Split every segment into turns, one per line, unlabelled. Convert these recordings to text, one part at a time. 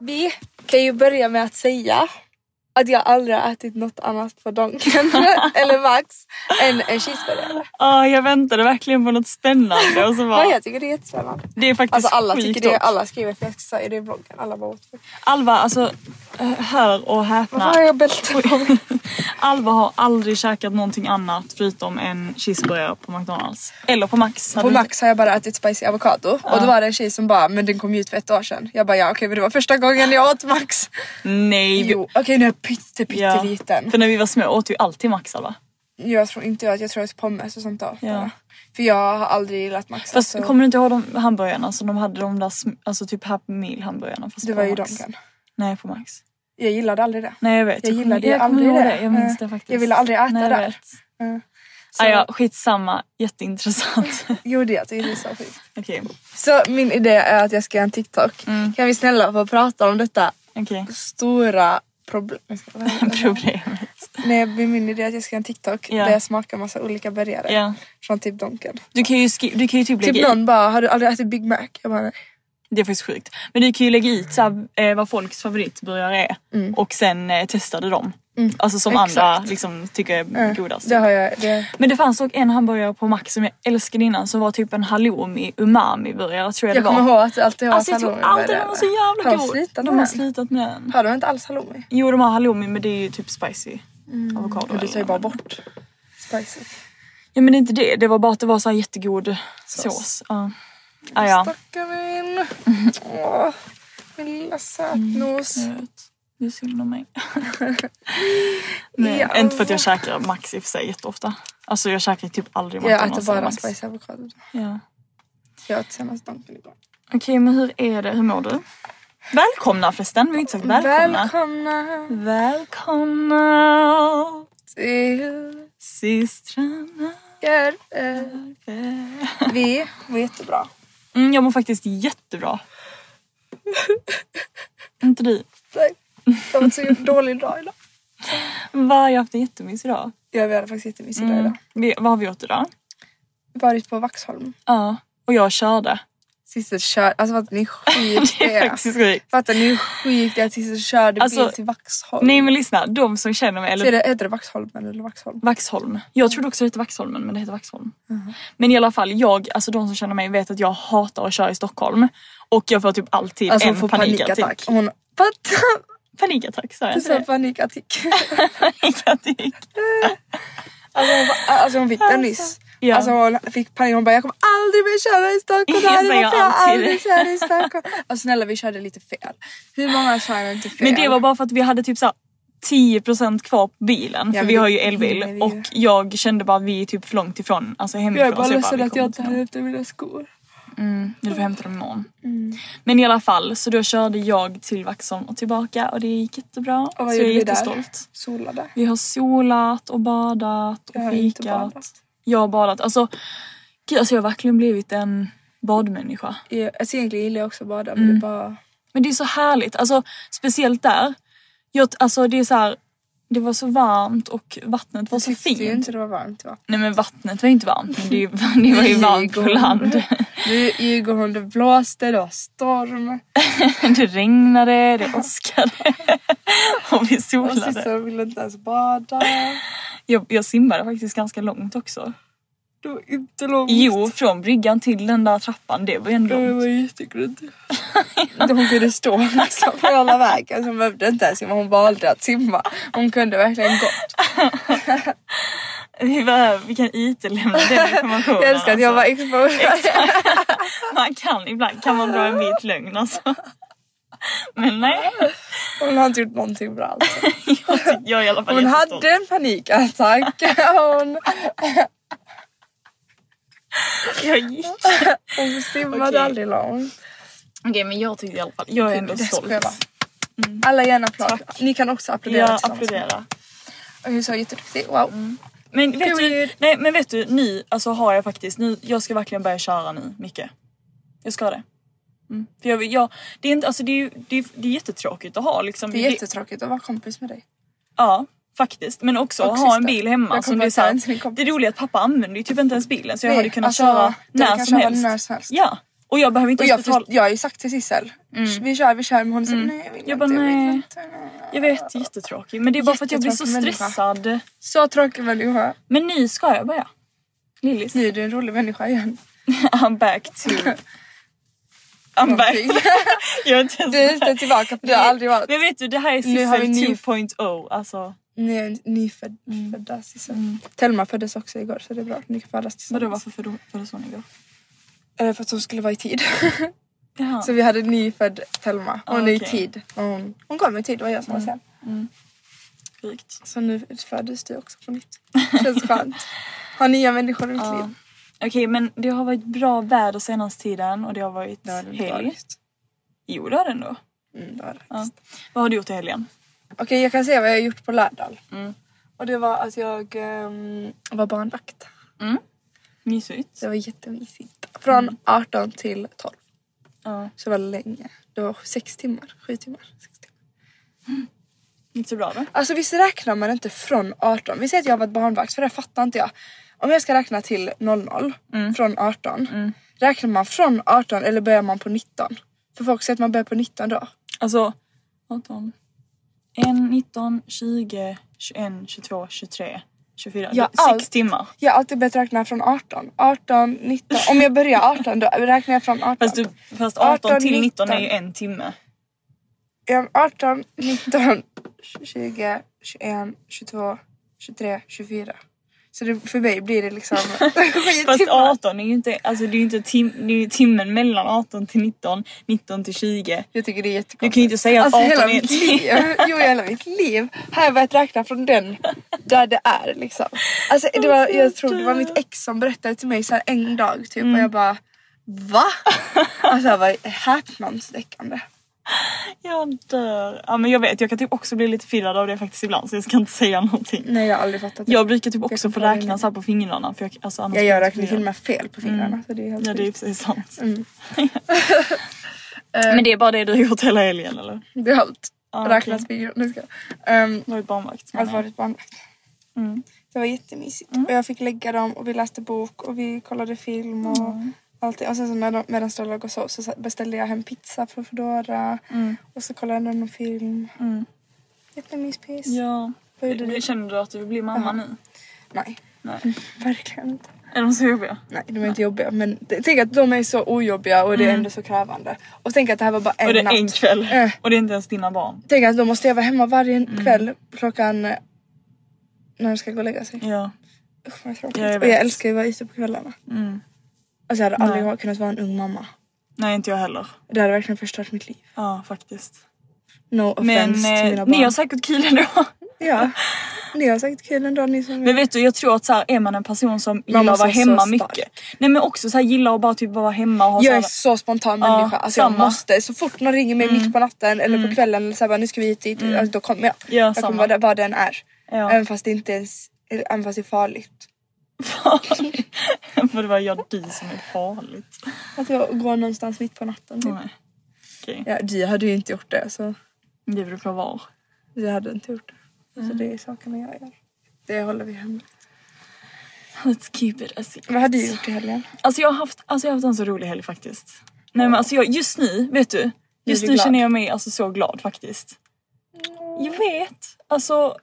Vi kan ju börja med att säga att jag aldrig har ätit något annat på Donken eller Max än en cheeseburgare.
Ah, jag väntade verkligen på något spännande och så bara,
Men jag tycker det är jättespännande.
det är faktiskt
Alltså alla tycker det,
skitgott.
alla skriver för jag ska säga det i bloggen. Alla bara åt för.
Alva, alltså eh, hör och häpna.
Varför har jag bälte på?
Alva har aldrig käkat någonting annat förutom en cheeseburgare på McDonalds. Eller på Max. hade
På
du-
Max har jag bara ätit spicy avokado och då var det en tjej som bara men den kom ju ut för ett år sedan. Jag bara ja okej men det var första gången jag åt Max.
Nej. vi-
Jo okej nu är jag pytte
Ja.
pytteliten.
För när vi var små åt vi alltid Max Alva.
Jag tror inte att jag tror att pommes och sånt då.
Ja.
För jag har aldrig gillat Max.
Fast
alltså.
kommer du inte ihåg de hamburgarna som de hade de där sm- alltså typ Happy Meal hamburgarna? Fast
det
på
var ju
Max.
Donken.
Nej på Max.
Jag gillade aldrig det.
Nej jag vet.
Jag
kommer-
gillade ju
jag kommer
aldrig
ihåg
det.
Jag minns
Eh,
det faktiskt.
jag ville aldrig äta
Nej, jag
där.
Vet.
Mm. Så,
Ah, ja, skitsamma, jätteintressant.
Jo det jag tycker det är så sjukt.
Okej,
Så min idé är att jag ska göra en TikTok.
Mm.
Kan vi snälla få prata om detta
okej.
stora problem? Jag ska- vad heter det?
Problemet.
Nej men min idé är att jag ska göra en TikTok
Ja.
där jag smakar massa olika burgare.
Ja.
Från typ Donken.
Du kan ju, skri- du kan ju typ lägga
Typ
i,
någon bara, har du aldrig ätit Big Mac? Jag bara nej.
det är faktiskt sjukt. Men du kan ju lägga ut så här, eh, vad folks favoritburgare är och sen eh, testade dem. Alltså som andra
Mm. exakt.
liksom tycker är
Eh,
godast.
Det har jag. Det.
Men det fanns dock en hamburgare på Max som jag älskade innan som var typ en halloumi umami burgare tror jag,
Jag
det var.
kommer ihåg att det alltid har
Alltså jag tror
halloumi
alltid
med
den var
det.
så jävla
Har
god.
de slutat
de har
med den?
slutat med den.
Har de inte alls halloumi?
Jo de har halloumi men det är ju typ spicy avokado.
Mm. Men du tar ju
eller
bara
något.
bort spicet.
Ja men det är inte det, det var bara att det var så här jättegod sås.
Sås.
Ja. Ah, ja.
Stackarn.
Mm.
Åh, min lilla sötnos.
Jag vet. Det är synd om mig.
Mm.
Nej, Inte för att jag käkar Max i och för sig jätteofta. Alltså jag käkar typ aldrig
Jag
McDonalds
äter
eller
bara
Max.
spicy avokado.
Ja.
Jag åt senast dampen igår.
Okej men hur är det, hur mår du? Välkomna förresten, vi har inte sagt välkomna.
Välkomna
välkomna
till
systrarna.
er. eh, Vi mår jättebra.
Mm, jag mår faktiskt jättebra. inte du?
Nej, Det var en så dålig dag idag.
Va, jag har haft en jättemysig dag.
Ja, vi hade faktiskt jättemysig dag idag.
Vi, vad har vi gjort idag?
Varit på Vaxholm.
Ja, och jag körde.
Sissel körde, alltså fattar ni hur sjukt det
Det är
är?
faktiskt sjukt.
Fattar ni hur sjukt det är att Sissel körde
Alltså,
bil till Vaxholm?
Nej men lyssna, de som känner mig,
Så
eller
är det, heter det Vaxholmen eller Vaxholm?
Vaxholm. Jag trodde också det hette Vaxholmen men det heter Vaxholm.
Uh-huh.
Men i alla fall, jag, alltså de som känner mig vet att jag hatar att köra i Stockholm. Och jag får typ alltid
Alltså hon
en
får panikattack.
panikattack. Alltså,
Hon fattar
Panikattack sa jag
du
inte det?
sa panikattack.
Panikattack.
Alltså hon, bara- alltså hon fick den nyss.
ja.
Alltså hon fick panik, hon bara jag kommer aldrig mer köra i Stockholm. Det här
Jag
är
säger
varför jag
alltid
aldrig
det.
kör i Stockholm. Alltså snälla vi körde lite fel. Hur många körde inte fel?
Men det var bara för att vi hade typ såhär 10% kvar på bilen
Ja,
för
men
vi har
det
ju
hinner vi
elbil
ju.
och jag kände bara att vi är typ för långt ifrån, alltså hemifrån.
jag är bara
så
ledsen
vi
att
kommer
jag inte
hem.
hade efter mina skor.
Mm, du får hämta dem imorgon.
Mm.
Men i alla fall, så då körde jag till Vaxholm och tillbaka och det gick jättebra.
Och vad
så jag är
gjorde vi där?
jättestolt.
Solade.
Vi har solat och badat och
Jag har inte
fikat.
badat.
Jag har badat. Alltså, gud, alltså jag har verkligen blivit en badmänniska.
Ja, Alltså egentligen gillar jag också att bada men
Mm.
det är bara...
Men det är så härligt, alltså speciellt där. Jag, alltså det är så här, det var så varmt och vattnet var så
Tyckte
fint.
ju inte det var varmt va?
Nej men vattnet var ju inte varmt, men det, är ju- det var ju varmt på land.
Vi i Djurgården, det blåste, det var storm.
Det regnade, det åskade och vi
Och
solade.
Sissan ville inte ens bada.
Jag, jag simmade faktiskt ganska långt också.
Det var inte långt.
Jo, från bryggan till den där trappan, det var ju ändå
Det
långt.
var jättegrönt. Hon kunde stå liksom på hela vägen så hon behövde inte ens simma. Hon valde att simma. Hon kunde verkligen gått.
Vi bara, vi kan IT-lämna den informationen.
Jag älskar att jag var
alltså.
exposed.
Man kan ibland, kan man dra en vit lögn alltså. Men nej,
Hon har inte gjort någonting bra alls.
jag, tycker- jag är i alla fall
Hon
jättestolt.
hade en panikattack. Hon,
Jag gick.
hon simmade
Okej.
aldrig långt. Typ,
Okej men jag tyckte i alla fall, jag är ändå
Det är
stolt. Mm.
superbra. Alla gärna applåd.
Tack.
Ni kan också applådera
Jag
tillsammans.
applåderar.
Och hon är så jätteduktig. Wow.
Mm. Men vet, du,
Period.
nej, men vet du, nu alltså har jag faktiskt, nu, jag ska verkligen börja köra nu mycket. Jag ska det. Mm. För jag, vill- jag, det, är inte, alltså, det, är, ju- det, är, det är jättetråkigt att ha liksom.
Det är jättetråkigt att vara kompis med dig.
Ja, faktiskt. Men också
Och
att ha en
sista.
bil
Jag
hemma. Som
kommer
det, är
att
så
ta en till min
här,
kompis.
det är roligt att pappa använder ju typ inte ens bilen så jag
Nej,
hade kunnat
alltså,
köra
du
när
kan
som,
köra
helst.
när som helst.
Ja, och jag behöver inte
Och
ens
jag,
betala.
först, jag har ju sagt till Sissel, vi kör, vi kör. Men hon är så, nej jag vill
Mm. Jag bara,
inte, jag
nej.
vill inte.
Jag vet, jättetråkigt. Men det är bara för att jag blir så
Jättetråkig människa.
stressad.
Så tråkig människa.
Men nu ska jag börja. Lillis.
Nu är du en rolig människa igen.
I'm back to... I'm back.
Någonting.
jag är inte ens
Du är inte tillbaka för du har aldrig varit...
Men vet du, det här är
Nu har vi ny-
Sissel 2.0. Alltså,
Ni är nyfödda födda Sissel. Telma föddes också igår så det är bra att ni kan födas
vadå
tillsammans.
varför födde föddes hon igår?
Eh, För att hon skulle vara i tid.
Jaha.
så vi hade nyfödd Telma. Hon är i
okej.
tid. Och Hon, hon kom i tid, det var jag som var sen.
Sjukt.
Så nu föddes du också på nytt. Känns skönt. Ha nya människor i mitt liv.
Okej men det har varit bra väder senaste tiden och det har varit
Det har det inte
helg.
varit.
Jo det har det ändå.
Mm, det har det.
Ja. Vad har du gjort i helgen?
Okej jag kan säga vad jag har gjort på lördagen. Och det var att jag ehm, var barnvakt.
Mysigt.
Det var jättemysigt. Från 18 till 12.
Mm. Ja.
Så det var länge. Det var sex timmar, sju timmar. Sex timmar.
Gick så bra då?
Alltså visst räknar man inte från 18? Vi säger att jag har varit barnvakt för det fattar inte jag. Om jag ska räkna till 00
Mm.
från 18. Räknar man från 18 eller börjar man på 19? För folk säger att man börjar på 19 då.
Alltså 18, 1, 19, 20, 21, 22, 23, 24.
Ja,
sex
allt.
timmar.
Jag har alltid börjat räkna från 18. 18, 19. Om jag börjar 18 då räknar jag från 18.
Fast, du, fast 18, till 19 är ju
19.
en timme.
Ja, 18, 19, 20, 21, 22, 23, 24. Så det, för mig blir det liksom
Fast
skittimmar.
18 är ju inte, alltså det är ju inte tim, det är ju timmen mellan 18 till 19, 19 till 20.
Jag tycker det är
Du
jättekonstigt.
kan ju inte säga att
Alltså
18
hela
är
mitt
ett
liv, jo hela mitt liv har jag börjat räkna från den där det är liksom. Alltså det var, jag tror det var mitt ex som berättade till mig så här en dag typ och
Mm.
jag bara VA? Alltså det var häpnadsväckande.
Jag dör. Ja men jag vet, jag kan typ också bli lite förvirrad av det faktiskt ibland så jag ska inte säga någonting.
Nej jag har aldrig fattat det.
Jag brukar typ också
Mm. kan
få
ta det
räkna
med.
så här på fingrarna för jag, alltså, annars
jag
blir
gör
så
räknar till och
förvirrad.
med fel på fingrarna så det är helt
Ja det är
sjukt.
ju precis sant.
Mm.
men
Eh.
det är bara det du har gjort hela helgen eller?
Det är allt.
Ja,
Räknas
Ah, okej. Ah,
fingrar. Nu ska jag. Um,
Du har varit barnvakt.
att
men-
varit barnvakt.
Mm.
Det var jättemysigt. Och jag fick lägga dem och vi läste bok och vi kollade film och
Mm.
allt det. Och sen så med, medan de låg och sov så beställde jag hem pizza från Foodora.
Mm.
Och så kollade jag någon film. Mm. Jättemyspis.
Ja.
Vad gjorde du?
Känner du att du blir mamma nu?
Nej.
Nej.
Verkligen inte.
Är de så jobbiga?
Nej, de är inte jobbiga. Men t- tänk att de är så ojobbiga och det är ändå så krävande. Och tänk att det här var bara en
Mm. Och det är en
natt.
kväll.
Eh.
Och det är inte ens dina barn.
Tänk att då måste jag vara hemma varje
Mm.
kväll klockan eh, när de ska gå och lägga sig.
Ja.
Usch vad tråkigt.
Mm. Ja, jag
och jag
vet. Mm.
älskar ju att vara ute på kvällarna. Alltså jag hade aldrig kunnat vara en ung mamma.
Nej inte jag heller.
Det hade verkligen förstört mitt liv.
Ja faktiskt.
No offense
Men
till mina
eh,
barn.
ni har säkert kul ändå.
Ja. Ni har säkert kul ändå ni som...
Men vet du jag tror att så här, är man en person som gillar att
måste
vara
vara så
hemma
stark.
mycket. Nej men också så här, gillar att bara typ vara hemma och ha
jag är
så
så
här,
spontan
Ja,
människa. Alltså jag
samma. Mm.
måste. Så fort någon ringer mig mitt på natten eller på kvällen eller så här, bara, nu ska vi hit dit. Alltså, då kommer jag.
Ja,
jag
samma.
kommer vara där vad den är.
Ja.
Även fast det inte ens... eller Även fast det är farligt.
farlig. För det var jag du som är farligt.
Att jag går någonstans mitt på natten typ.
Nej. Okej.
Ja, du hade ju inte gjort det så.
Det beror på var.
Vi hade inte gjort det.
Mm.
Så det är sakerna jag gör. Det håller vi hemma.
Let's keep it a secret.
Vad hade du gjort i helgen?
Alltså jag har haft, alltså jag har haft en så rolig helg faktiskt. Nej men alltså jag, just nu, vet du? Just
du
nu
glad?
känner jag mig alltså så glad faktiskt. Jag vet. Alltså,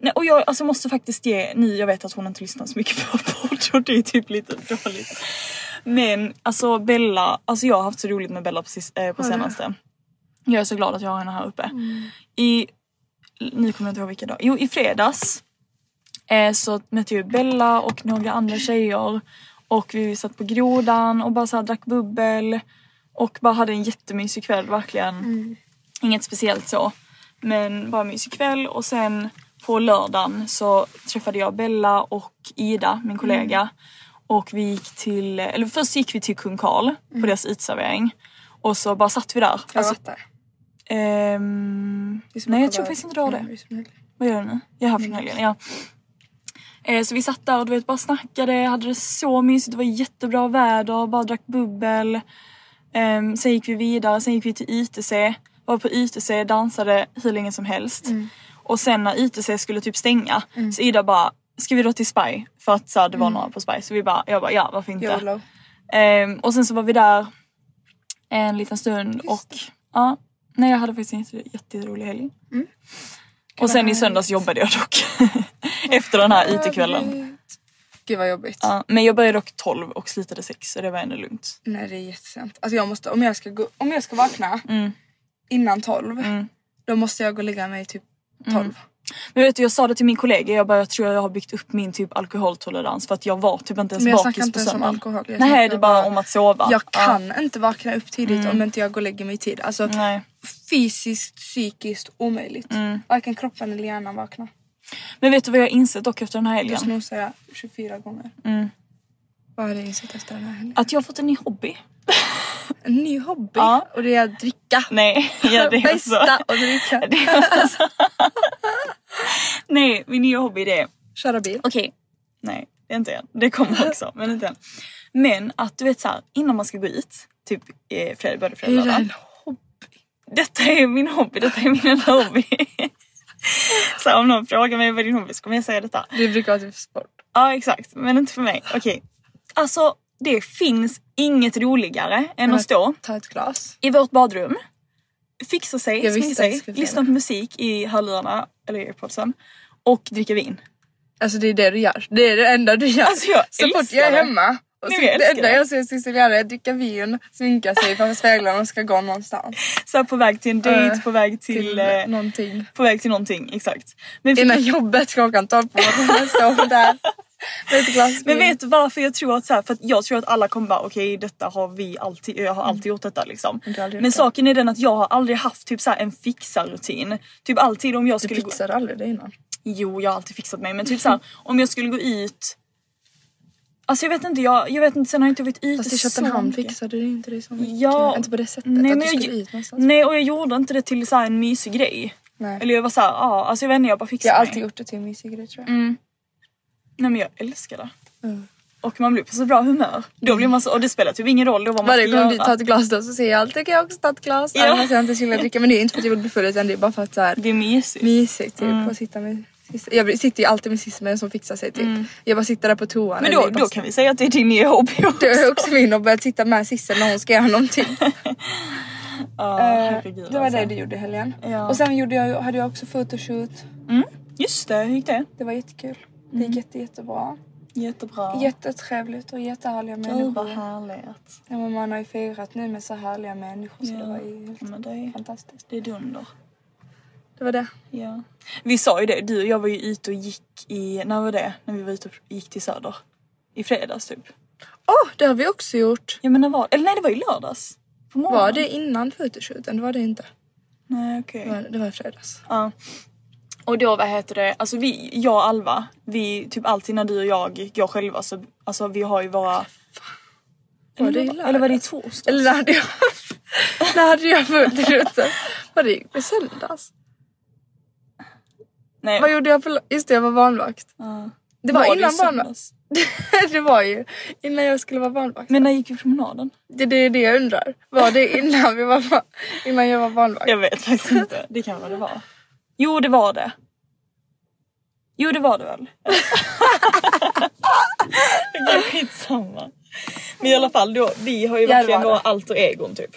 nej, och jag alltså, måste faktiskt ge, ni, jag vet att hon inte lyssnar så mycket på podd och det är typ lite dåligt. Men alltså Bella, alltså jag har haft så roligt med Bella på, sis, eh, på senaste. Jag är så glad att jag har henne här uppe. I, ni kommer inte ihåg vilken dag, jo i fredags eh, så mötte jag Bella och några andra tjejer och vi satt på grodan och bara så här drack bubbel och bara hade en jättemysig kväll verkligen.
Mm.
Inget speciellt så. Men bara mysig kväll och sen på lördagen så träffade jag Bella och Ida, min kollega.
Mm.
Och vi gick till, eller först gick vi till Kung Karl
Mm.
på deras uteservering. Och så bara satt vi där.
Jag
Alltså,
varit där.
ehm,
Vi som
nej jag
åkte
tror
där.
faktiskt inte du har det.
Mm, vi som helg.
Vad gör du nu? Jag är här från helgen, ja. Eh, så vi satt där och du vet bara snackade, hade det så mysigt, det var jättebra väder, bara drack bubbel. Ehm, sen gick vi vidare, sen gick vi till ITC. Var på ITC, dansade hur länge som helst. Och sen när ITC skulle typ stänga så Ida bara, ska vi då till Spy? För att så här, det var några på Spy. Så vi bara, jag bara ja varför inte?
YOLO.
Ehm, och sen så var vi där en liten stund och ja. Nej jag hade faktiskt en jätte- jätterolig helg.
Mm.
Och sen i söndags jobbade jag dock. Efter den här IT-kvällen.
Gud vad jobbigt.
Ja, men jag började dock 12 och slutade 6 så det var ändå lugnt.
Nej det är jättesent. Alltså jag måste, om jag ska, gå, om jag ska vakna
Mm.
innan 12 då måste jag gå och lägga mig typ
Mm.
12.
Men vet du jag sa det till min kollega, jag bara jag tror jag har byggt upp min typ alkoholtolerans för att jag var typ inte ens
Men jag snackar
bakis
inte
på
ens om
söndagen.
alkohol. Jag
Nej
snackar
det är bara om att sova.
Jag
Ja. Mm.
kan inte vakna upp tidigt om inte jag går och lägger mig i tid. Alltså
Nej. Mm.
fysiskt, psykiskt omöjligt. Varken kroppen eller hjärnan vaknar.
Men vet du vad jag har insett dock efter den här
Då
helgen?
snosar jag 24 gånger.
Mm.
Vad har jag insett efter den här helgen?
Att jag har fått en ny hobby.
En ny hobby
Ja.
och det är att dricka.
Nej, ja, det alltså. är också.
Bästa att dricka.
Det är också. Nej, min nya hobby det är
Köra bil.
Okej. Nej, det är inte än. Det kommer också, men inte än. Men att du vet så här, innan man ska gå ut, typ eh, fredag, både fredag och
det
lördag.
en
Detta är min hobby, detta är min enda hobby. så här, om någon frågar mig vad är din hobby så kommer jag säga detta.
Det brukar vara typ sport.
Ja exakt, men inte för mig. Okej. Alltså, det finns inget roligare än att stå
Ta ett glas.
i vårt badrum, fixa sig,
Jag
sminka
visste att du
sig,
skulle säga
lyssna på musik i hörlurarna, eller i airpodsen, och dricka vin.
Alltså det är det du gör. Det är det enda du gör.
Alltså, jag
så fort
älskar
jag är
det.
hemma. Och
Nej,
så,
men jag
det
älskar
enda
det.
jag ser Cecilia göra är att dricka vin, sminka sig framför spegeln och ska gå någonstans.
Så här, på väg till en dejt,
Eh,
på väg till...
Till
eh,
någonting.
På väg till någonting, exakt. Men,
Innan jobbet klockan 12 på morgonen står hon där med ett glas
men
vin.
vet du varför jag tror att så här, för att jag tror att alla kommer bara okej detta har vi alltid, jag har alltid gjort detta liksom.
Mm. du har aldrig gjort
Men
det.
saken är den att jag har aldrig haft typ så här en fixarrutin. Typ alltid om jag
Du
skulle gå,
fixade aldrig det innan.
jo jag har alltid fixat mig men typ så här, om jag skulle gå ut Alltså jag vet inte, jag, jag vet inte, sen har jag inte varit ute
Fast i
så
Köpenhamn
mycket.
fixade du inte det så mycket.
Ja.
Inte på det sättet
Nej,
att
men
du
jag-
skulle ut någonstans.
Nej och jag gjorde inte det till så här en mysig grej.
Nej.
Eller jag var såhär, ja alltså jag vet inte jag bara fixar
Jag har
mig.
alltid gjort det till en mysig grej tror jag.
Mm. Nej men jag älskar det.
Mm.
Och man blir på så bra humör. Då blir man så, och det spelar typ ingen roll då vad man
Varje gång du
ska
tar
göra.
ett glas då så säger jag alltid kan jag också ta ett glas.
Ja.
Även fast jag inte skulle vilja dricka men det är inte för att jag vill bli full utan det är bara för att så här,
Det är mysigt. Mm.
mysigt typ att sitta med syster. Jag sitter ju alltid med syster som fixar sig typ. Jag bara sitter där på toan.
Mm. men
eller
då,
i
då
bastun.
kan vi säga att det är din nya hobby också.
Det är också min och börjat sitta med syster när hon ska göra någonting.
Ja,
Eh,
herregud,
det var
alltså.
det du gjorde i helgen.
Ja.
Och sen gjorde jag, hade jag också photoshoot.
Mm. Just det, hur gick det?
Det var jättekul. Det
Mm.
gick jätte, jättebra.
Jättebra.
Jättetrevligt och jättehärliga
Gud vad
människor.
härligt.
Ja, men man har ju firat nu med så härliga människor så
Ja.
det var ju helt
Men det är,
fantastiskt.
det är dunder.
Mm. Det var det.
Ja. Vi sa ju det, du och jag var ju ute och gick i, när var det? När vi var ute och gick till Söder. I fredags typ.
Åh, det har vi också gjort.
Ja men när var Eller nej det var ju lördags. På morgonen.
Var det innan fotoshooten? Det var det inte.
Nej okej.
Det var, det var i fredags.
Ja. Och då vad heter det, alltså vi, jag och Alva, vi typ alltid när du och jag går själva så alltså vi har ju våra...
Var det i
eller var det i
lördags?
torsdags?
Eller när hade jag... när hade jag fullt i rutan? Var det i söndags?
Nej,
Vad gjorde jag på... Just det, jag var barnvakt.
Ja.
Det var,
i
innan barnvakt.
söndags?
det var ju innan jag skulle vara barnvakt.
Men när gick vi promenaden?
Det, det är det jag undrar. Var det innan, vi var, ba- innan jag var barnvakt?
Jag vet faktiskt inte. Det kan vara det var. Jo det var det. Jo det var det väl. det är skitsamma. Men i alla fall då, vi har ju
Ja, det
verkligen
var
våra
det.
alter egon typ.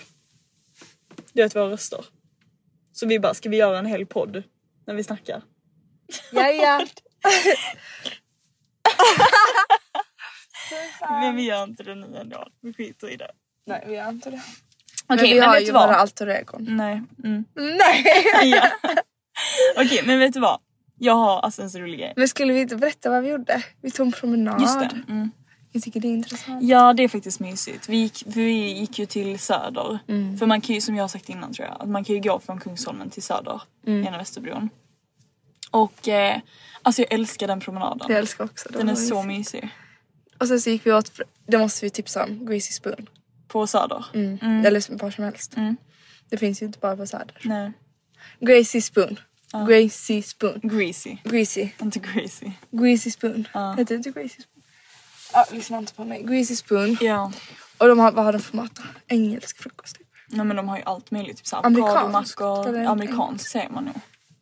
Du vet våra röster. Så vi bara, ska vi göra en hel podd när vi snackar?
Ja, ja.
Men vi gör inte det nu ändå. Vi skiter i det.
Nej, vi har inte det.
Okej
men vi har
vet
ju
du vad?
våra alter egon.
Nej. Mm.
Nej!
Ja. Okej men vet du vad? Jag har alltså en så rolig grej.
Men skulle vi inte berätta vad vi gjorde? Vi tog en promenad.
Just det. Mm.
Jag tycker det är intressant.
Ja det är faktiskt mysigt. Vi gick, vi gick ju till söder.
Mm.
För man kan ju som jag har sagt innan tror jag, att man kan ju gå från Kungsholmen till söder
Mm.
genom Västerbron. Och eh, alltså jag älskar den promenaden.
Jag älskar också det.
den är
var
så
mysigt.
mysig.
Och sen så gick vi åt, det måste vi tipsa om, Greasy Spoon.
På söder.
Mm. Eller var som helst.
Mm.
Det finns ju inte bara på Söder.
Nej.
Greasy Spoon. Greasy Spoon.
Greasy.
Greasy.
Inte greasy.
Greasy Spoon. Heter det inte Greasy Spoon? Ja, lyssna inte på mig. Greasy Spoon.
Ja.
Och de har, vad har de för mat då? Engelsk frukost typ.
Nej men de har ju allt möjligt. Typ såhär
Amerikanskt,
avokadomackor.
eller?
Amerikanskt säger man nog.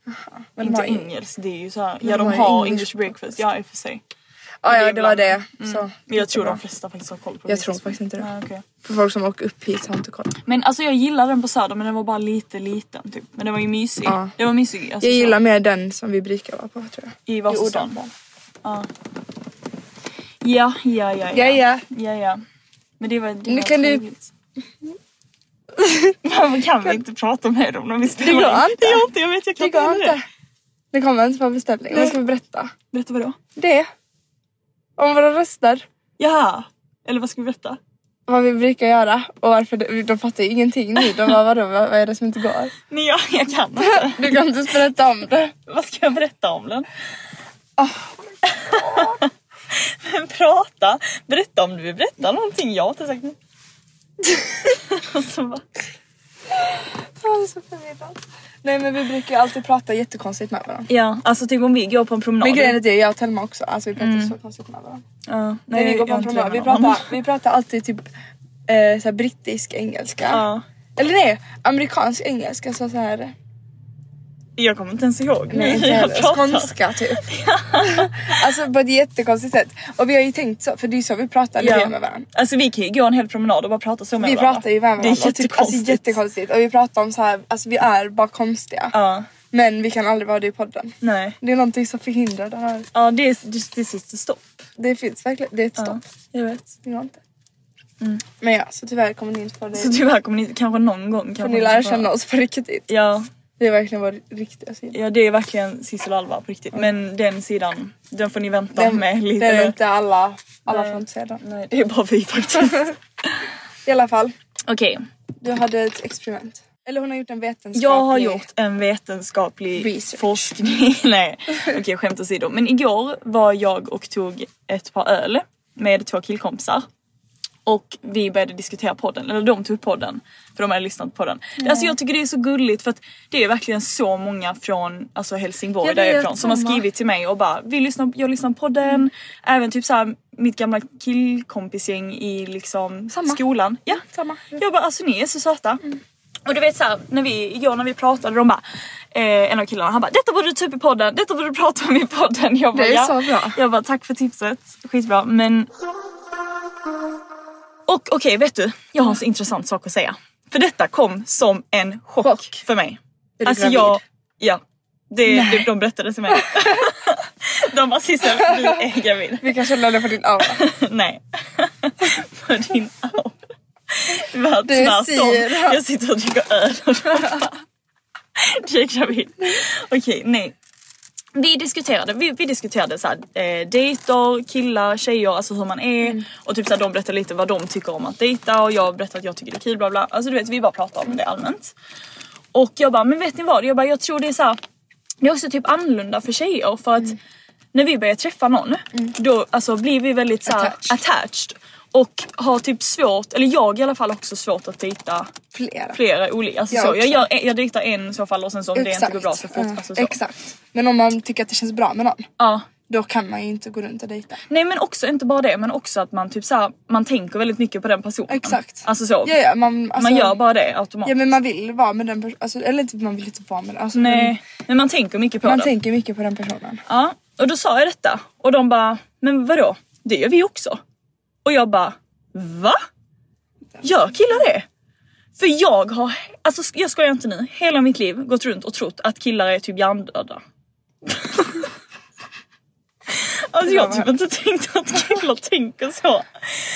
Men de
Inte
har ju-
engelskt. Det är ju såhär.
de
Ja de
har ju
har
English
English breakfast. Ja i och för sig.
Ja,
Det
ja
är
det var
bland-
det. Så,
Mm. Men jag tror
jättebra.
de flesta faktiskt har koll på
Jag
Greasy
tror
Spoon.
faktiskt inte det.
Nej, okej.
För folk som åker upp hit har inte koll.
Men alltså jag gillar den på Söder men den var bara lite liten typ. Men den var ju mysig.
Ja.
Den var mysig. Alltså,
Jag
så-
gillar mer den som vi brukar vara på tror jag.
I Vasastan. Ja. Ja, ja, ja.
Ja, ja.
ja, ja. Men det var... Det
Nu
var
kan du-
trevligt. Varför kan vi inte prata mer om dem? Vi spelar
går
in?
inte.
Det går inte. Jag vet, jag kan
Det
inte
går
göra det.
inte. Det kommer inte på beställning. Vad ska vi berätta?
Berätta vadå?
Det. Om våra röster.
Ja. Eller vad ska vi berätta?
Vad vi brukar göra och varför de, de fattar ju ingenting nu. De bara vadå, vad, vad är det som inte går?
Nej, jag, jag kan inte.
Du kan inte ens berätta om det.
Vad ska jag berätta om den?
Ah.
Men prata! Berätta om du vill berätta någonting. Jag har inte sagt något. Och så bara-
Jag är så förvirrad. Nej men vi brukar ju alltid prata jättekonstigt med varandra.
Ja, alltså typ om vi går på en promenad.
Men grejen är det, jag och Telma också, alltså vi pratar så konstigt med varandra.
Ja,
När vi går på
Mm. jag
en
har
promenad,
inte
vi
lämnat någon.
pratar, vi pratar alltid typ eh, såhär brittisk engelska.
Ja.
Eller nej, amerikansk engelska så såhär.
Jag kommer inte ens ihåg.
Nej inte
Jag
heller.
pratar.
Skånska typ. alltså på ett jättekonstigt sätt. Och vi har ju tänkt så, för det är ju så vi pratar när vi
Ja.
är med varandra.
Alltså vi kan ju gå en hel promenad och bara prata så med
Vi
varandra.
pratar ju med varandra.
Det är
och typ, alltså,
jättekonstigt.
jättekonstigt. Och vi pratar om så här, alltså vi är bara konstiga.
Ja,
Men vi kan aldrig vara det i podden.
nej.
Det är någonting som förhindrar det här.
Ja det är det, det sitter stopp.
Det finns verkligen, det är ett stopp.
Jag vet.
Det går inte. Men ja, så tyvärr kommer ni inte få det.
Mm. Så tyvärr kommer ni kanske någon gång. Kanske
får ni lära känna oss på riktigt.
Ja,
Det är verkligen vår riktiga sida.
ja det är verkligen Sissel och Alva på riktigt. Men den sidan, den får ni vänta med lite.
det är
eller-
inte alla, alla får inte se den.
Nej det är bara vi faktiskt.
I alla fall,
Okej,
du hade ett experiment. Eller hon har gjort en vetenskaplig...
jag har gjort en vetenskaplig
Research.
forskning. Nej okej skämt åsido. Men igår var jag och tog ett par öl med två killkompisar. Och vi började diskutera podden, eller de tog upp podden. För de hade lyssnat på den. Alltså jag tycker det är så gulligt för att det är verkligen så många från alltså Helsingborg
Jag
där jag är
vet,
ifrån som har
samma.
skrivit till mig och bara vi lyssnar, jag lyssnar på podden.
Mm.
Även typ såhär mitt gamla killkompisgäng i liksom
Samma. Mm,
skolan. Ja.
Samma. Mm.
Jag bara alltså ni är så söta. Och du vet såhär när vi, igår när vi pratade de bara eh, en av killarna han bara detta borde du ta upp i podden, detta borde du prata om i podden. Jag bara,
Det är så
ja.
bra.
Jag bara tack för tipset, skitbra men och okej, vet du? Jag har en så intressant sak att säga. För detta kom som en chock,
Chock.
för mig.
Är du gravid?
Alltså, jag, ja. Det, det, de berättade till mig. de bara Sissel, du är gravid.
Vi kan känna det på din aura.
Nej. På din aura. Det var
Du
tvärtom.
ser.
Jag sitter och dricker öl och de bara, du är gravid. Okej, nej. Vi diskuterade, vi, vi diskuterade så här, eh, dejter, killar, tjejer, alltså hur man är. Och typ så här, de berättade lite vad de tycker om att dejta och jag berättade att jag tycker det är kul bla bla. Alltså du vet vi bara pratade om det allmänt. Och jag bara, men vet ni vad? Jag bara, jag tror det är så här. Det är också typ annorlunda för tjejer för
Mm.
att när vi börjar träffa någon då alltså, blir vi väldigt så här,
Attached.
attached. och har typ svårt, eller jag i alla fall också svårt att dejta
Flera.
flera olika. Alltså,
Jag
så. Jag,
också.
gör, jag dejtar en i så fall och sen så om det inte går bra så fort.
Ja,
Alltså, så.
Exakt. Men om man tycker att det känns bra med någon,
Ja.
då kan man ju inte gå runt och dejta.
Nej men också inte bara det men också att man typ så här, man tänker väldigt mycket på den personen.
Exakt.
Alltså så.
Ja, ja, man, alltså,
man gör bara det automatiskt.
Ja men man vill vara med den personen, alltså, eller inte, man vill inte vara med den. Alltså,
Nej men man tänker mycket på
man, man
den.
tänker mycket på den personen.
Ja, och då sa jag detta och de bara, men vadå? Det gör vi också. Och jag bara, va? Gör killar det? För jag har, alltså sk- jag skojar inte nu, hela mitt liv gått runt och trott att killar är typ hjärndöda. alltså jag har typ inte tänkt att killar tänker så.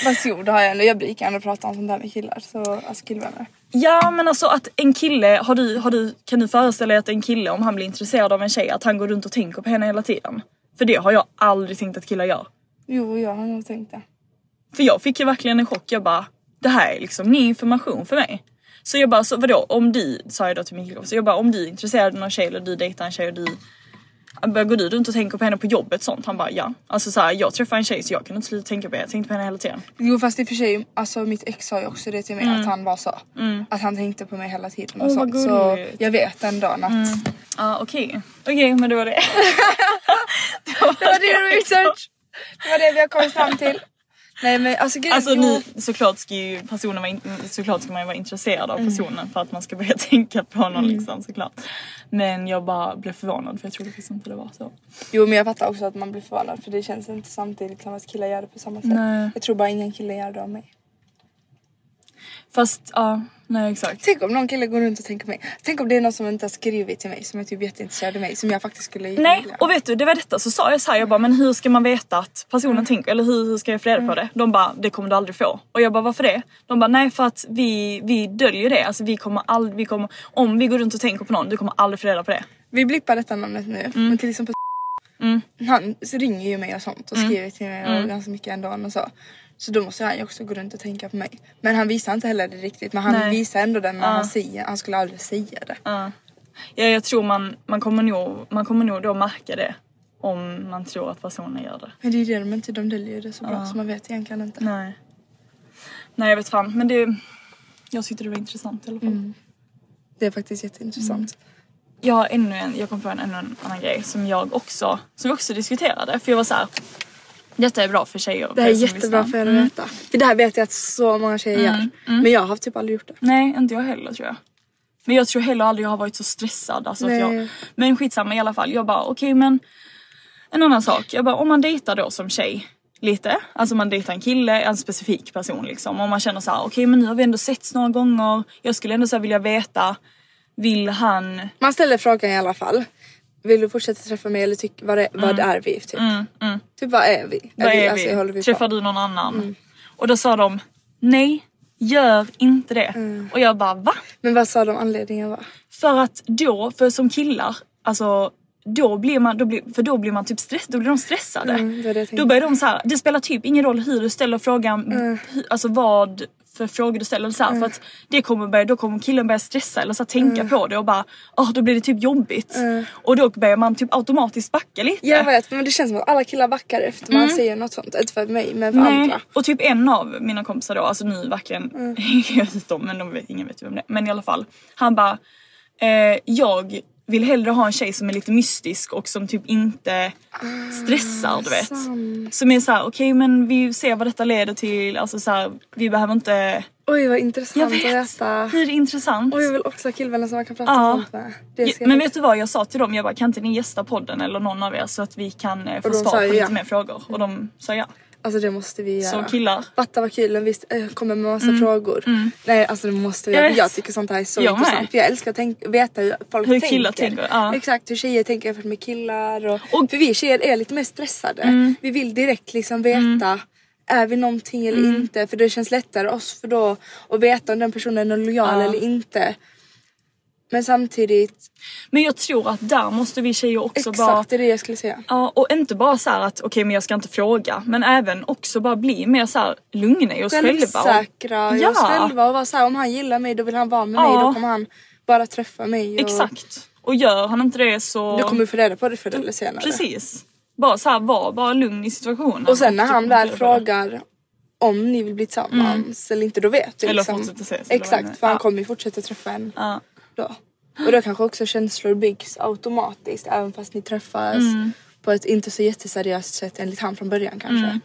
Fast jo det har jag ändå, jag brukar ändå prata om sånt där med killar. Så, alltså killvänner.
Ja men alltså att en kille, har du, har du, kan du föreställa dig att en kille om han blir intresserad av en tjej att han går runt och tänker på henne hela tiden? För det har jag aldrig tänkt att killar gör.
Jo jag har nog tänkt det.
För jag fick ju verkligen en chock. Jag bara, det här är liksom ny information för mig. Så jag bara, så vadå om du, sa jag då till min killkompis, jag bara om du är intresserad av någon tjej eller du dejtar en tjej och du bara, Går du runt och tänker på henne på jobbet sånt? Han bara ja. Alltså så här, jag träffade en tjej så jag kunde inte sluta tänka på henne. Jag tänkte på henne hela tiden.
Jo fast i och för sig, alltså mitt ex sa ju också det till mig att han var så. Att han tänkte på mig hela tiden och
Mm. Åh, vad
sånt. Så
gulligt. Mm.
jag vet den dagen att...
Ja okej. Okej men det var det.
Det var din research! Det var det vi har kommit fram till. Nej men alltså grejen...
Alltså
jo,
ni, såklart ska ju personen vara, in, såklart ska man ju vara intresserad av personen för att man ska börja tänka på någon liksom såklart. Men jag bara blev förvånad för jag trodde faktiskt inte det var så.
jo men jag fattar också att man blir förvånad för det känns inte samtidigt som att killar gör det på samma sätt.
Nej.
Jag tror bara ingen kille gör det av mig.
Fast ja, nej exakt.
Tänk om någon kille går runt och tänker på mig. Tänk om det är någon som inte har skrivit till mig som är typ jätteintresserad av mig som jag faktiskt skulle
Nej,
gilla.
och vet du, det var detta så sa jag så här, jag bara men hur ska man veta att personen tänker eller hur, hur ska jag få reda på det? De bara det kommer du aldrig få. Och jag bara varför det? De bara nej för att vi, vi döljer det. Alltså vi kommer aldrig, vi kommer, om vi går runt och tänker på någon, du kommer aldrig få reda på det.
Vi blippar detta namnet nu
Mm.
men till exempel Han ringer ju mig och sånt
Mm.
och skriver till mig och ganska mycket ändå och så. Så då måste han ju också gå runt och tänka på mig. Men han visar inte heller det riktigt men han
Nej.
visar ändå den när han säger Han skulle aldrig säga det.
Ja, jag tror man, man, kommer nog, man kommer nog då märka det om man tror att personen gör det.
Men det är ju det de inte, de döljer ju det så bra så man vet egentligen inte.
Nej. Nej jag vet fan men det, jag tyckte det var intressant i alla fall.
Det är faktiskt jätteintressant.
Mm. Jag har ännu en, jag kom på en, ännu en annan grej som jag också, som vi också diskuterade för jag var så här. Detta är bra för tjejer.
Det här är
som Mm.
jättebra
lyssnar."
för er att veta. För det här vet jag att så många tjejer
Mm.
gör. Men jag har typ aldrig gjort det.
Nej inte jag heller tror jag. Men jag tror heller aldrig jag har varit så stressad. Alltså att
Nej.
jag, men skitsamma i alla fall. Jag bara okej men en annan sak. Jag bara om man dejtar då som tjej lite. Alltså man dejtar en kille, en specifik person liksom. Om man känner så här okej men nu har vi ändå setts några gånger. Jag skulle ändå så här vilja veta. Vill han
Man ställer frågan i alla fall. Vill du fortsätta träffa mig eller tyck, vad, är, vad är vi? Typ. typ vad är vi?
Mm. Vad
vi-
är
alltså, håller
vi?
vi
Träffar
på? Mm.
du någon annan? Och då sa de nej, gör inte det.
Mm.
Och jag bara va?
Men vad sa de anledningen var?
För att då, för som killar, alltså då blir man, då blir, för då blir man typ stress, då blir de stressade.
Mm, det var det jag Mm. tänkte.
då börjar de så här, det spelar typ ingen roll hur du ställer frågan, hur- alltså vad för frågor du ställer så här,
Mm.
för att det kommer börja, då kommer killen börja stressa eller så här, tänka på det och bara, åh då blir det typ jobbigt.
Mm.
Och då börjar man typ automatiskt backa lite.
Jag vet men det känns som att alla killar backar efter man
Mm.
säger något sånt. Inte för mig men för andra. Mm.
Och typ en av mina kompisar då, alltså nu verkligen hänger jag ut dem men de vet, ingen vet ju vem det är. Men i alla fall. Han bara, eh, jag vill hellre ha en tjej som är lite mystisk och som typ inte
Ah,
stressar du vet. Som är såhär, okej men vi ser vad detta leder till, alltså såhär vi behöver inte...
Oj vad intressant att
vet.
veta.
Hur intressant?
Och jag vill också ha killvänner som man kan prata
Ja.
om sånt med. Det
Ja,
ska jag
men
fixa.
vet du vad jag sa till dem? Jag bara kan inte ni gästa podden eller någon av er så att vi kan eh, få
Och de
svar på
sa ju
lite
ja.
mer frågor? Och de sa ja.
Alltså det måste vi göra.
Så killar.
Fatta vad kul om vi eh, kommer med massa frågor. Nej alltså det måste vi
Mm. Jag
göra.
vet.
Jag tycker sånt här är så
Jag med.
intressant. För jag älskar att tänk- veta hur folk
Hur
tänker.
killar tänker, ja.
Exakt hur tjejer tänker jämfört med killar. Och,
Och- Mm.
för vi tjejer är lite mer stressade. Vi vill direkt liksom veta. Är vi någonting eller
Mm.
inte? För det känns lättare oss för då att veta om den personen är lojal eller inte. Men samtidigt,
Men jag tror att där måste vi tjejer också
exakt
bara
det är det jag skulle säga.
Ja och inte bara så här att okej men jag ska inte fråga men även också bara bli mer så här lugna i oss själva. och-
Självsäkra i oss
Ja.
själva och vara såhär om han gillar mig då vill han vara med
Ja.
mig. Då kommer han bara träffa mig. Och...
Exakt. Och gör han inte det så...
Du kommer få reda på det förr eller senare.
Precis. Bara så här, var bara lugn i situationen.
Och sen när
typ
han
inte
väl
reda på det. Mm.
frågar om ni vill bli tillsammans eller inte, då vet du
Eller
liksom.
fortsätta ses, eller vad det nu är.
Exakt, för han
Ja.
kommer ju fortsätta träffa en
Ja.
då. Och då kanske också känslor byggs automatiskt även fast ni träffas
Mm.
på ett inte så jätteseriöst sätt enligt han från början kanske.
Mm.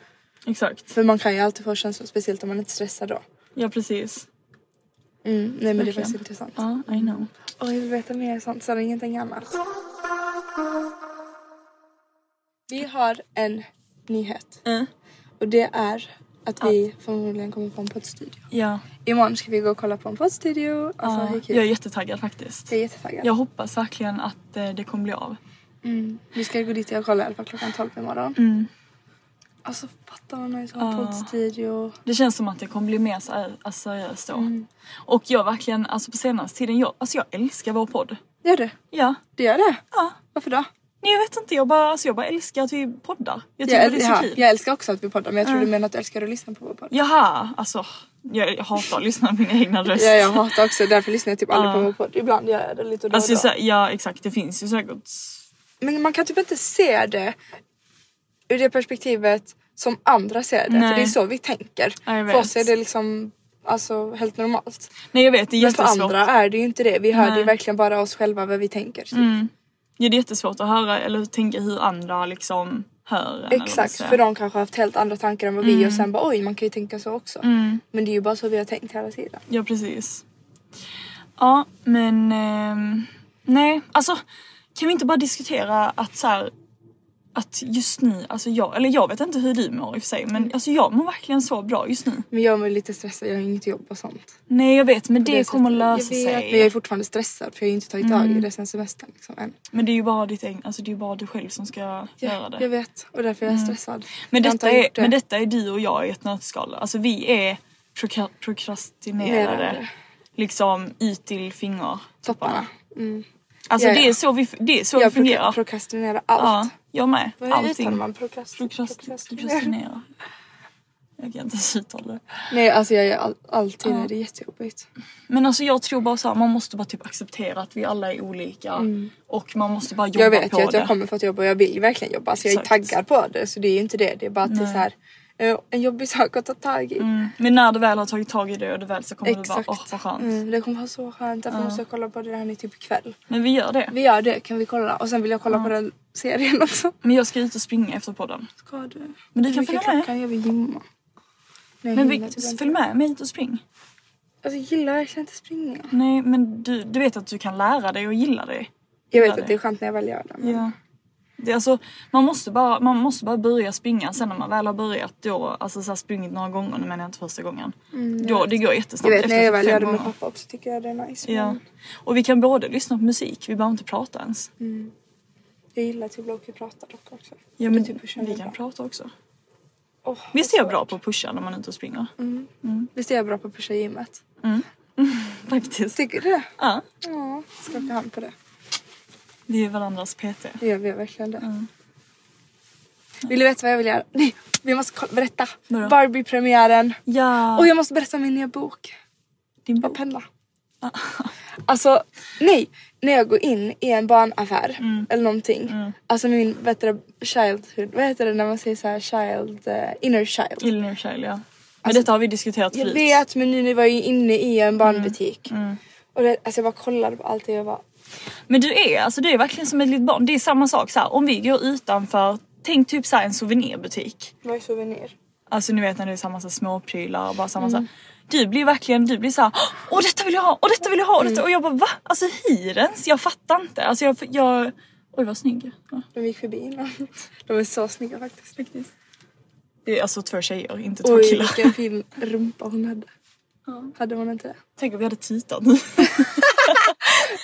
Exakt.
För man kan ju alltid få känslor, speciellt om man inte stressar då.
Ja precis.
Mm, nej men det är faktiskt intressant.
Ja, I know.
Och jag vill veta mer sånt, så det är ingenting annat. Vi har en nyhet.
Mm.
Och det är att vi förmodligen kommer få en poddstudio.
Ja.
Imorgon ska vi gå och kolla på en poddstudio. Alltså hur kul.
Jag är jättetaggad faktiskt.
Jag är jättetaggad. Mm.
Jag hoppas verkligen att eh, det kommer bli av.
Vi ska gå dit och kolla i alla fall klockan 12 imorgon.
Mm.
Alltså fatta vad nice att ha en poddstudio.
Det känns som att det kommer bli mer seri- alltså, seriöst då.
Mm.
Och jag verkligen, alltså på senaste tiden, jag, alltså jag älskar vår podd.
Gör det?
Ja.
Det gör det?
Ja.
Varför då?
Nej jag vet inte, jag bara, alltså, jag bara älskar att vi poddar. Jag tycker
Jag,
det är så
jaha,
kul.
jag älskar också att vi poddar men jag tror du menar att du älskar att lyssna på vår podd.
Jaha, alltså jag, jag hatar att lyssna på min egna röst.
Ja, jag hatar också, därför lyssnar jag typ aldrig på vår podd. Ibland gör jag det lite då och
Alltså,
då.
så, ja exakt, det finns ju säkert...
Men man kan typ inte se det ur det perspektivet som andra ser det.
Nej.
För det är så vi tänker.
Ja, jag
för
vet.
oss är det liksom alltså, helt normalt.
Nej jag vet, det är
Men för
jättesvårt.
andra är det ju inte det. Vi hör
Nej. Mm.
ju verkligen bara oss själva vad vi tänker. Typ.
Ja, det är jättesvårt att höra eller tänka hur andra liksom hör en, eller vad man
Exakt,
säger.
för de kanske har haft helt andra tankar än vad vi
Mm.
och sen bara oj man kan ju tänka så också. Men det är ju bara så vi har tänkt hela tiden.
Ja precis. Ja men ehm, nej alltså kan vi inte bara diskutera att så här, att just nu, alltså jag, eller jag vet inte hur du mår i och för sig
Mm.
men alltså jag mår verkligen så bra just nu.
Men jag är lite stressad, jag har inget jobb och sånt.
Nej jag vet men det,
är så
kommer
att-
lösa
jag vet,
sig. Mm.
Men jag är fortfarande stressad för jag har ju inte tagit tag i det sen semestern. Liksom, än.
Men det är ju bara ditt egen, alltså det är ju bara du själv som ska göra
Jag
det. Mm.
vet och därför är jag stressad.
Men
Jag har inte
detta, är,
gjort det.
men detta är du och jag i ett nötskal. Alltså vi är proka- prokrastinerade.
Nerade.
Liksom ut till fingertopparna.
Topparna. Mm.
Alltså
Ja, ja.
det är så vi, det är så vi
Jag proka-
fungerar.
prokrastinerar
Ja,
allt.
jag med.
Vad är det uttalar
Allting.
man? Prokrast-
Prokrast-
Prokrastinera?
Prokrastinera. Jag kan inte ens uttala det.
Nej alltså jag gör all- alltid det, det är jättejobbigt.
Men alltså jag tror bara så här, man måste bara typ acceptera att vi alla är olika. Och man måste bara jobba
Mm. Jag vet
på
ju att
det.
jag kommer få ett jobb och jag vill verkligen jobba så jag är
Exakt.
taggad på det så det är ju inte det. Det är bara att det är så här, eh, en jobbig sak att ta tag i.
Mm. Men när du väl har tagit tag i det och det väl så kommer du
Exakt.
bara åh vad skönt.
Mm, det kommer vara så skönt. Därför måste jag kolla på det här nu typ ikväll.
Men vi gör det.
Vi gör det, kan vi kolla? Och sen vill jag kolla på den serien också.
Men jag ska ut och springa efter podden.
Ska du?
Men du kan
Hur mycket
följa med.
klockan? Jag vill gymma. Nej,
Men
jag
vi,
gillar typ inte.
följ med mig ut och spring.
Alltså jag gillar verkligen inte springa.
Nej men du, du vet att du kan lära dig och gilla dig.
Jag
Gillar
vet att det
det.
är skönt när jag väl gör det. men-
Ja. Det, är alltså, man, måste bara, man måste bara börja springa sen när man väl har börjat då, alltså så här sprungit några gånger, nu menar jag inte första gången. då, det går jättesnabbt.
Mm, Jag vet när jag väl
typ fem
gör det med
gånger.
pappa också tycker jag det är nice.
Ja.
Men
Och vi kan både lyssna på musik, vi behöver inte prata ens.
Mm. jag gillar att jag och prata dock också.
Ja, men
typ pusha
vi
mig
kan
bra.
prata också.
Åh,
Visst är jag bra på att pusha när man är ute och springer?
Mm. Visst är jag bra på att pusha gymmet?
Faktiskt.
Tycker du det?
Ja,
Ja. Skaka hand på det.
vi är varandras PT.
Det gör vi verkligen det.
Mm.
Vill du veta vad jag vill göra? Nej, vi måste kolla, berätta.
Vadå?
Barbie-premiären.
Ja,
Och jag måste berätta om min nya bok.
din
Med
bok.
penna.
Ah.
Alltså nej, när jag går in i en barnaffär
Mm.
eller någonting. Alltså min vad heter det, childhood, vad heter det när man säger så här child, eh, inner child.
Illinois Child, ja. Men detta har vi diskuterat
Alltså, Jag
förut.
vet men nu när jag var ju inne i en barnbutik.
Mm.
Och det, alltså jag bara kollade på allt och jag bara
Men du är, alltså, du är verkligen som ett litet barn. Det är samma sak så här, om vi går utanför, tänk typ så här, en souvenirbutik.
vad är souvenir?
Alltså ni vet när det är samma så här, småprylar och bara samma så här.
Mm.
Du blir verkligen, du blir så här, åh detta vill jag ha, åh detta vill jag ha, och
Mm.
detta. och jag bara va? Alltså hyrens, jag fattar inte. Alltså jag, jag oj vad snygg. Ja.
De gick förbi innan. De är så snygga faktiskt. faktiskt.
Det är alltså två tjejer, inte två
Oj
killar.
vilken fin rumpa hon hade. Hade hon inte det?
Tänk om vi hade tittat nu.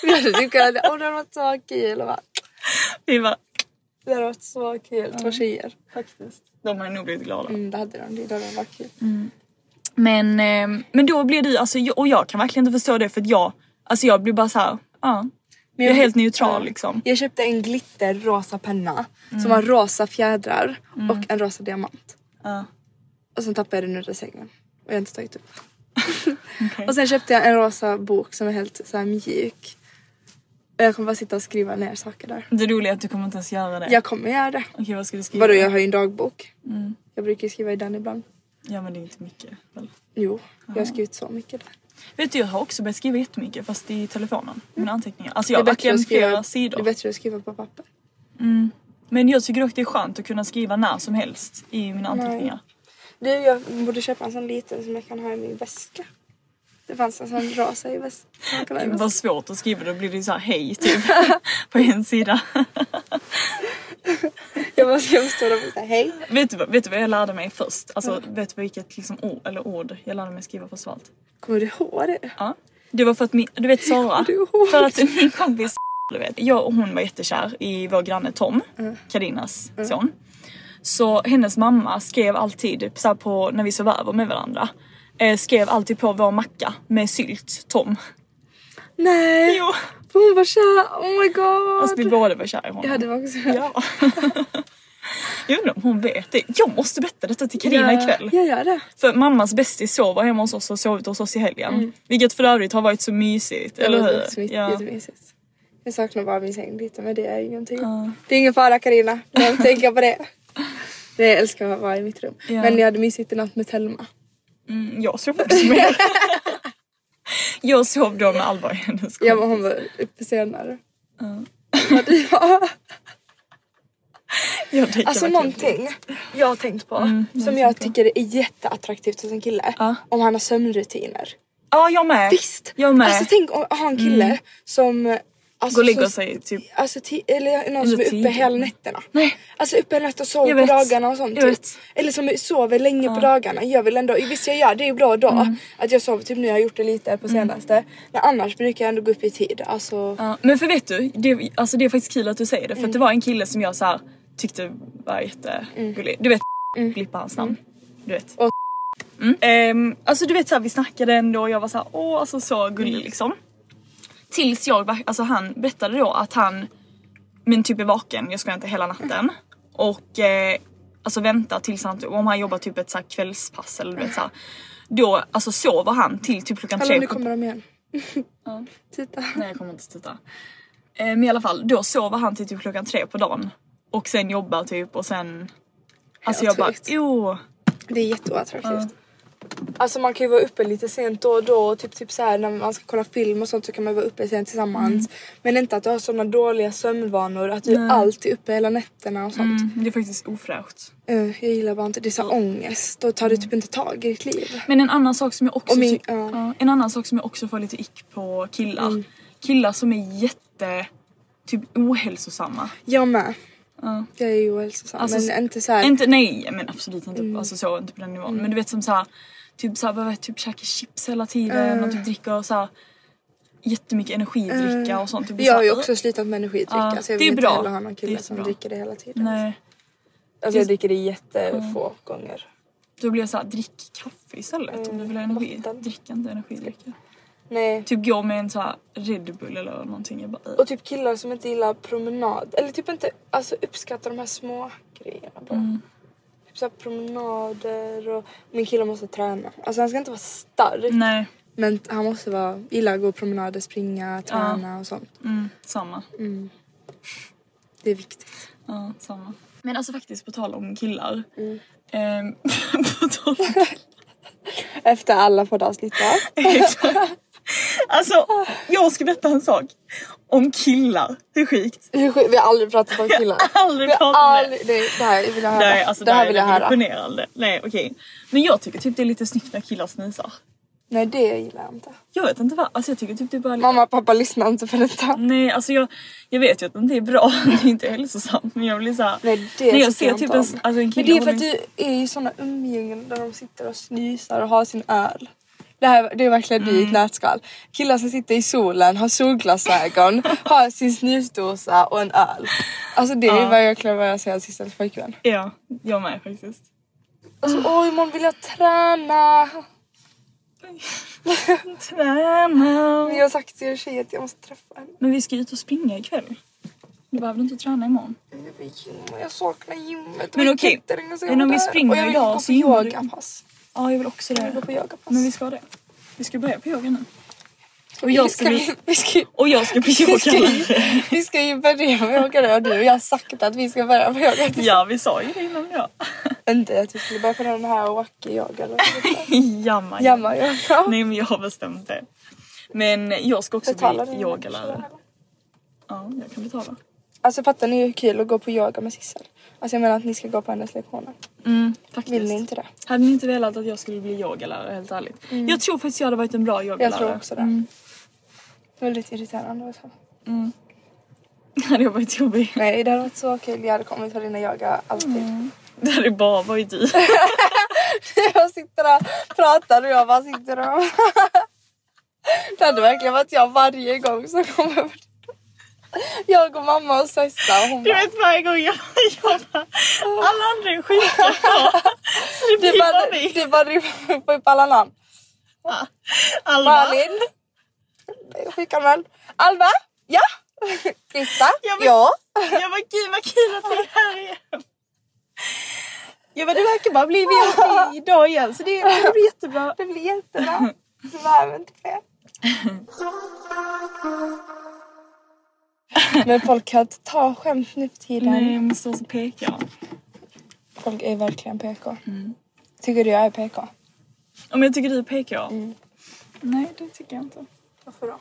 Vi hade typ kunnat, åh det hade varit så kul. Och bara,
vi bara,
Det hade varit så kul, två tjejer.
faktiskt. Mm. De har nog blivit glada.
Mm, det hade de, det hade varit kul.
Men, eh, men då blir det ju, alltså, jag- och jag kan verkligen inte förstå det för att jag, alltså jag blir bara så här, ja.
Men
jag är helt neutral liksom. Mm.
Jag köpte en glitterrosa penna som har rosa fjädrar och en rosa diamant.
Ja.
Och sen tappade jag den under sängen. Och jag har inte tagit upp den. Och sen köpte jag en rosa bok som är helt så här mjuk. Och jag kommer bara sitta och skriva ner saker där.
Det roliga är att du kommer inte ens göra det.
Jag kommer göra det.
Okej vad ska du skriva?
Vadå jag har ju en dagbok.
Mm.
Jag brukar ju skriva i den ibland.
Ja men det är inte mycket. Väl?
Jo, jag har skrivit så mycket där.
Vet du jag har också börjat skriva jättemycket fast i telefonen. Mina anteckningar. Alltså
Mm. Det
jag
är
har
bättre
verkligen
att
flera
skriva, det
sidor.
är bättre att skriva på papper.
Men jag tycker också det är skönt att kunna skriva när som helst i mina anteckningar.
Du, jag borde köpa en sån liten som jag kan ha i min väska. Det fanns en sån rosa i väskan. Jag kan ha i
Vad
väskan.
svårt att skriva, då blir det så här hej typ. på en sida.
Jag bara jag bara står där och säger hej.
vet, du, vad- vet du vad jag lärde mig först? Alltså
Mm.
vet du vad- vilket liksom, ord, eller ord jag lärde mig skriva först av allt?
Kommer du ihåg det?
Ja. Det var för att min, du vet Sara,
du ihåg?
för att min kompis du vet, jag och hon var jättekär i vår granne Tom,
Mm.
Karinas son. Så hennes mamma skrev alltid, typ så här på, när vi sov över med varandra, eh, skrev alltid på vår macka med sylt, Tom.
Nej!
Jo,
För hon var kär, oh my god.
alltså vi båda var kära i honom.
Ja det var också
Ja. Jag undrar om hon vet det. Jag måste berätta detta till Karina ikväll.
Jag gör det.
För mammas bästis sover hemma hos oss och sovit hos oss i helgen. Vilket för övrigt har varit så mysigt, eller
Mm. det
hur?
var smitt,
ja.
jättemysigt. Jag saknar bara min säng lite men det är ingenting. Det är ingen fara Karina. Du behöver inte tänka på det. Nej jag älskar att vara i mitt rum.
Ja.
Men jag hade mysigt i natt med Telma.
Mm, jag sov också med. jag sov då med Alva i hennes
Jag
kompis.
och hon var uppe senare. Ja. det var-
Jag dricker
Alltså
verkligen
någonting jag har tänkt på
Mm,
som jag tycker är jätteattraktivt hos en kille. Om han har sömnrutiner.
Ja, jag med.
Visst!
Jag med.
Alltså tänk att ha en kille som... Alltså,
Gå och lägga
som-
sig typ.
Alltså, ti- eller någon
Eller
som är uppe
tidigt.
hela nätterna.
Nej.
Alltså uppe hela natten och sover
Jag
på
vet.
dagarna och sånt.
Jag
Typ.
vet.
Eller som sover länge på dagarna. Jag vill ändå, visst jag gör det, är ju bra då.
Mm.
Att jag sover typ nu, jag har gjort det lite på senaste. Men annars brukar jag ändå gå upp i tid. Alltså,
Ja, men för vet du, det, alltså det är faktiskt kul att du säger det. För att
Mm.
det var en kille som jag så här, tyckte var jättegullig. Du vet, blippa hans namn. Du vet.
Mm. Och-
Mm. Ehm, alltså du vet såhär, vi snackade ändå och jag var såhär, åh alltså så
Mm.
gullig liksom. Tills jag, var- alltså han berättade då att han, men typ är vaken, jag ska inte hela natten. Och eh, alltså vänta tills han, om han jobbar typ ett så här kvällspass eller du vet såhär. Då alltså sover han till typ klockan
Hallå
tre
nu
på
kommer de igen. Titta.
Nej jag kommer inte titta. Eh, Men i alla fall, då sover han till typ klockan tre på dagen. Och sen jobbar typ och sen... Alltså jag
Helt
bara,
sjukt.
jo. mm,
Det är jätteoattraktivt. Alltså man kan ju vara uppe lite sent då och då. Typ, typ så här, när man ska kolla film och sånt så kan man vara uppe sent tillsammans.
Mm.
Men inte att du har sådana dåliga sömnvanor. Att du alltid är uppe hela nätterna och sånt.
Mm, det är faktiskt ofräscht.
Eh, jag gillar bara inte, det är sån ångest. Då tar du
Mm.
typ inte tag i ditt liv.
Men en annan sak som jag också
Och min-
ty-
ja. Mm.
ja, En annan sak som jag också får lite ick på killar. Killar som är jätte typ ohälsosamma.
Jag med. Jag är ju ohälsosam.
Alltså,
men inte så här.
Inte, nej men absolut inte,
Mm.
alltså så, inte på den nivån. Men du vet som såhär, typ såhär behöver typ käka chips hela tiden
Eh.
och typ dricka och såhär jättemycket energidricka och sånt. Typ
Eh. jag har ju
såhär,
också slutat med energidricka
Ja,
så jag
det
vill
är
inte
bra.
heller ha någon
Det är
kille som
bra.
dricker det hela tiden.
Nej.
Alltså jag dricker det jättefå gånger.
Då blir jag såhär, drick kaffe istället om du vill ha energi.
Mm, vatten.
Drick inte energidrycker.
Nej.
Typ gå med en såhär Red Bull eller någonting. Jag bara,
Och typ killar som inte gillar promenad. Eller typ inte alltså, uppskattar de här små grejerna bara.
Mm.
Typ så här promenader och... Min kille måste träna. Alltså han ska inte vara stark.
nej,
Men han måste vara... Gilla att gå promenader, springa, träna och sånt.
mm, samma.
Det är viktigt.
Ja, samma. Men alltså faktiskt på tal om killar.
Mm.
Ehm, på tal om,
Efter alla poddavsnitt va?
alltså jag ska berätta en sak. Om killar, hur sjukt?
Hur sjukt, Vi har aldrig pratat om killar.
Aldrig
Vi har
pratat om det.
aldrig- Nej, det här vill jag höra.
Nej, alltså
det här vill jag
är
höra.
imponerande. Nej okej. Men jag tycker typ det är lite snyggt när killar snisar.
Nej det gillar jag inte.
Jag vet inte vad, alltså jag tycker typ det är bara lite...
Mamma och pappa lyssnar inte på detta.
Nej, alltså jag, jag vet ju att det inte är bra, det är inte hälsosamt men jag blir såhär...
Nej det
när
tycker
jag ser typ
inte om.
en, alltså en
Men
kille...
det är för att
hålla-
du är i såna umgängen där de sitter och snusar och har sin öl. Det, här, det är verkligen du i
Mm.
ett nötskal. Killar som sitter i solen, har solglasögon, har sin snusdosa och en öl. Alltså det är verkligen vad jag säger sista till pojkvän.
Ja, jag med faktiskt.
Alltså
Mm.
åh imorgon vill jag träna.
Träna!
Men jag har sagt till er tjejer att jag måste träffa henne.
Men vi ska ju ut och springa ikväll. Du behöver inte träna imorgon.
Jag vill gymma, Jag saknar gymmet.
Men okej, men om vi springer
och jag vill
idag
gå
så
på
gymmar du.
yogapass.
Ja, jag vill också
Jag vill gå
det.
på yogapass.
Men vi ska det. Vi ska börja på yoga nu. Och jag ska bli...
vi, ska, ju-
Och jag ska bli
vi, ska ju,
yogalärare.
vi ska ju börja med att åka rör du och jag har sagt att vi ska börja med yoga.
Ja vi sa ju det innan ja.
Inte att vi skulle börja på den här wacky-yoga eller
Jamma.
jamma-yoga.
Nej men jag har bestämt det. Men jag ska också
Betalar
bli
du
yogalärare. Ja jag kan betala.
Alltså fattar ni hur kul att gå på yoga med Sissel? Alltså jag menar att ni ska gå på hennes lektioner.
Mm, faktiskt.
Vill ni inte det?
Hade ni inte velat att jag skulle bli yogalärare helt ärligt? Jag tror faktiskt jag hade varit en bra yogalärare.
Mm. Jag tror också det.
Mm.
Väldigt irriterande. Också.
Hade jag varit jobbig.
Nej det hade varit så kul. Jag hade kommit på dina yoga alltid.
Mm. Det hade bara varit du.
Jag sitter där och pratar och jag bara sitter och... Det hade verkligen varit jag varje gång som kom över till- Jag och mamma och Sessa och hon
Du
bara...
vet varje gång jag jobbar. Alla andra är sjuka. Så det
Du
blir bara
bara,
vi.
du bara river upp upp alla namn.
Alma.
Malin. Sjukanmäld. Alva. Ja. Krista.
Ja, men-
Ja.
Jag bara gud vad kul att du är här igen. Jag bara det verkar bara bli VIP idag igen så det, det blir jättebra.
Det blir jättebra. Du behöver inte fler. Men folk kan inte ta skämt nu för tiden.
Nej jag måste också peka.
Folk är verkligen PK. Tycker du jag är PK?
Om jag tycker du är PK?
Mm.
Nej det tycker jag inte.
Varför då?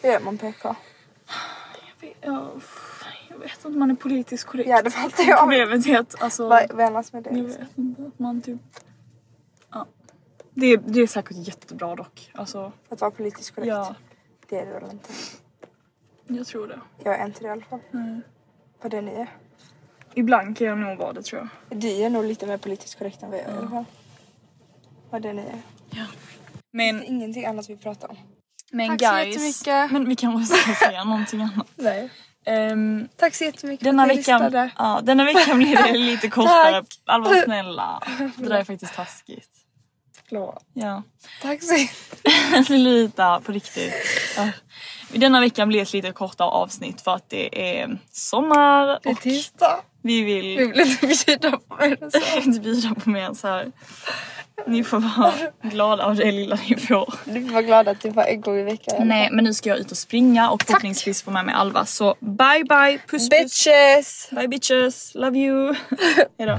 Det är man PK.
Jag vet, ja, uff, jag vet att man är politiskt korrekt.
Ja, det fattar jag.
Problemet är att alltså,
Vad menas med det?
jag vet inte att man typ... Ja. Det, är- det är säkert jättebra dock. Alltså,
Att vara politiskt korrekt?
ja,
Det är det väl inte?
jag tror det.
Jag är inte det i alla fall. Vad det ni är.
Ibland kan jag nog vara det tror jag.
Du är nog lite mer politiskt korrekt än vad jag är i alla fall. Vad det ni är.
Men,
Ingenting annat vi pratar om.
men
Tack så
guys,
jättemycket.
men vi kan väl säga någonting annat.
Nej.
Ehm,
Tack så jättemycket
denna,
för att ni
veckan,
lyssnade.
ja, denna veckan blir det lite kortare.
Tack.
Alva snälla, det där är faktiskt taskigt.
Förlåt.
Ja.
Tack så jättemycket.
Lita på riktigt. Ja. Denna veckan blir ett lite kortare avsnitt för att det är sommar
Det är
och
tisdag.
vi
Vi
vill
blev inte bjudna på mer än så.
inte bjuda på mer än så här. Ni får vara glada av det lilla ni får.
Du får vara glad att du var en gång i veckan. i alla
Nej men nu ska jag ut och springa och förhoppningsvis få med mig Alva så bye bye puss
fall.
puss.
Bitches!
Bye bitches, love you. Hejdå.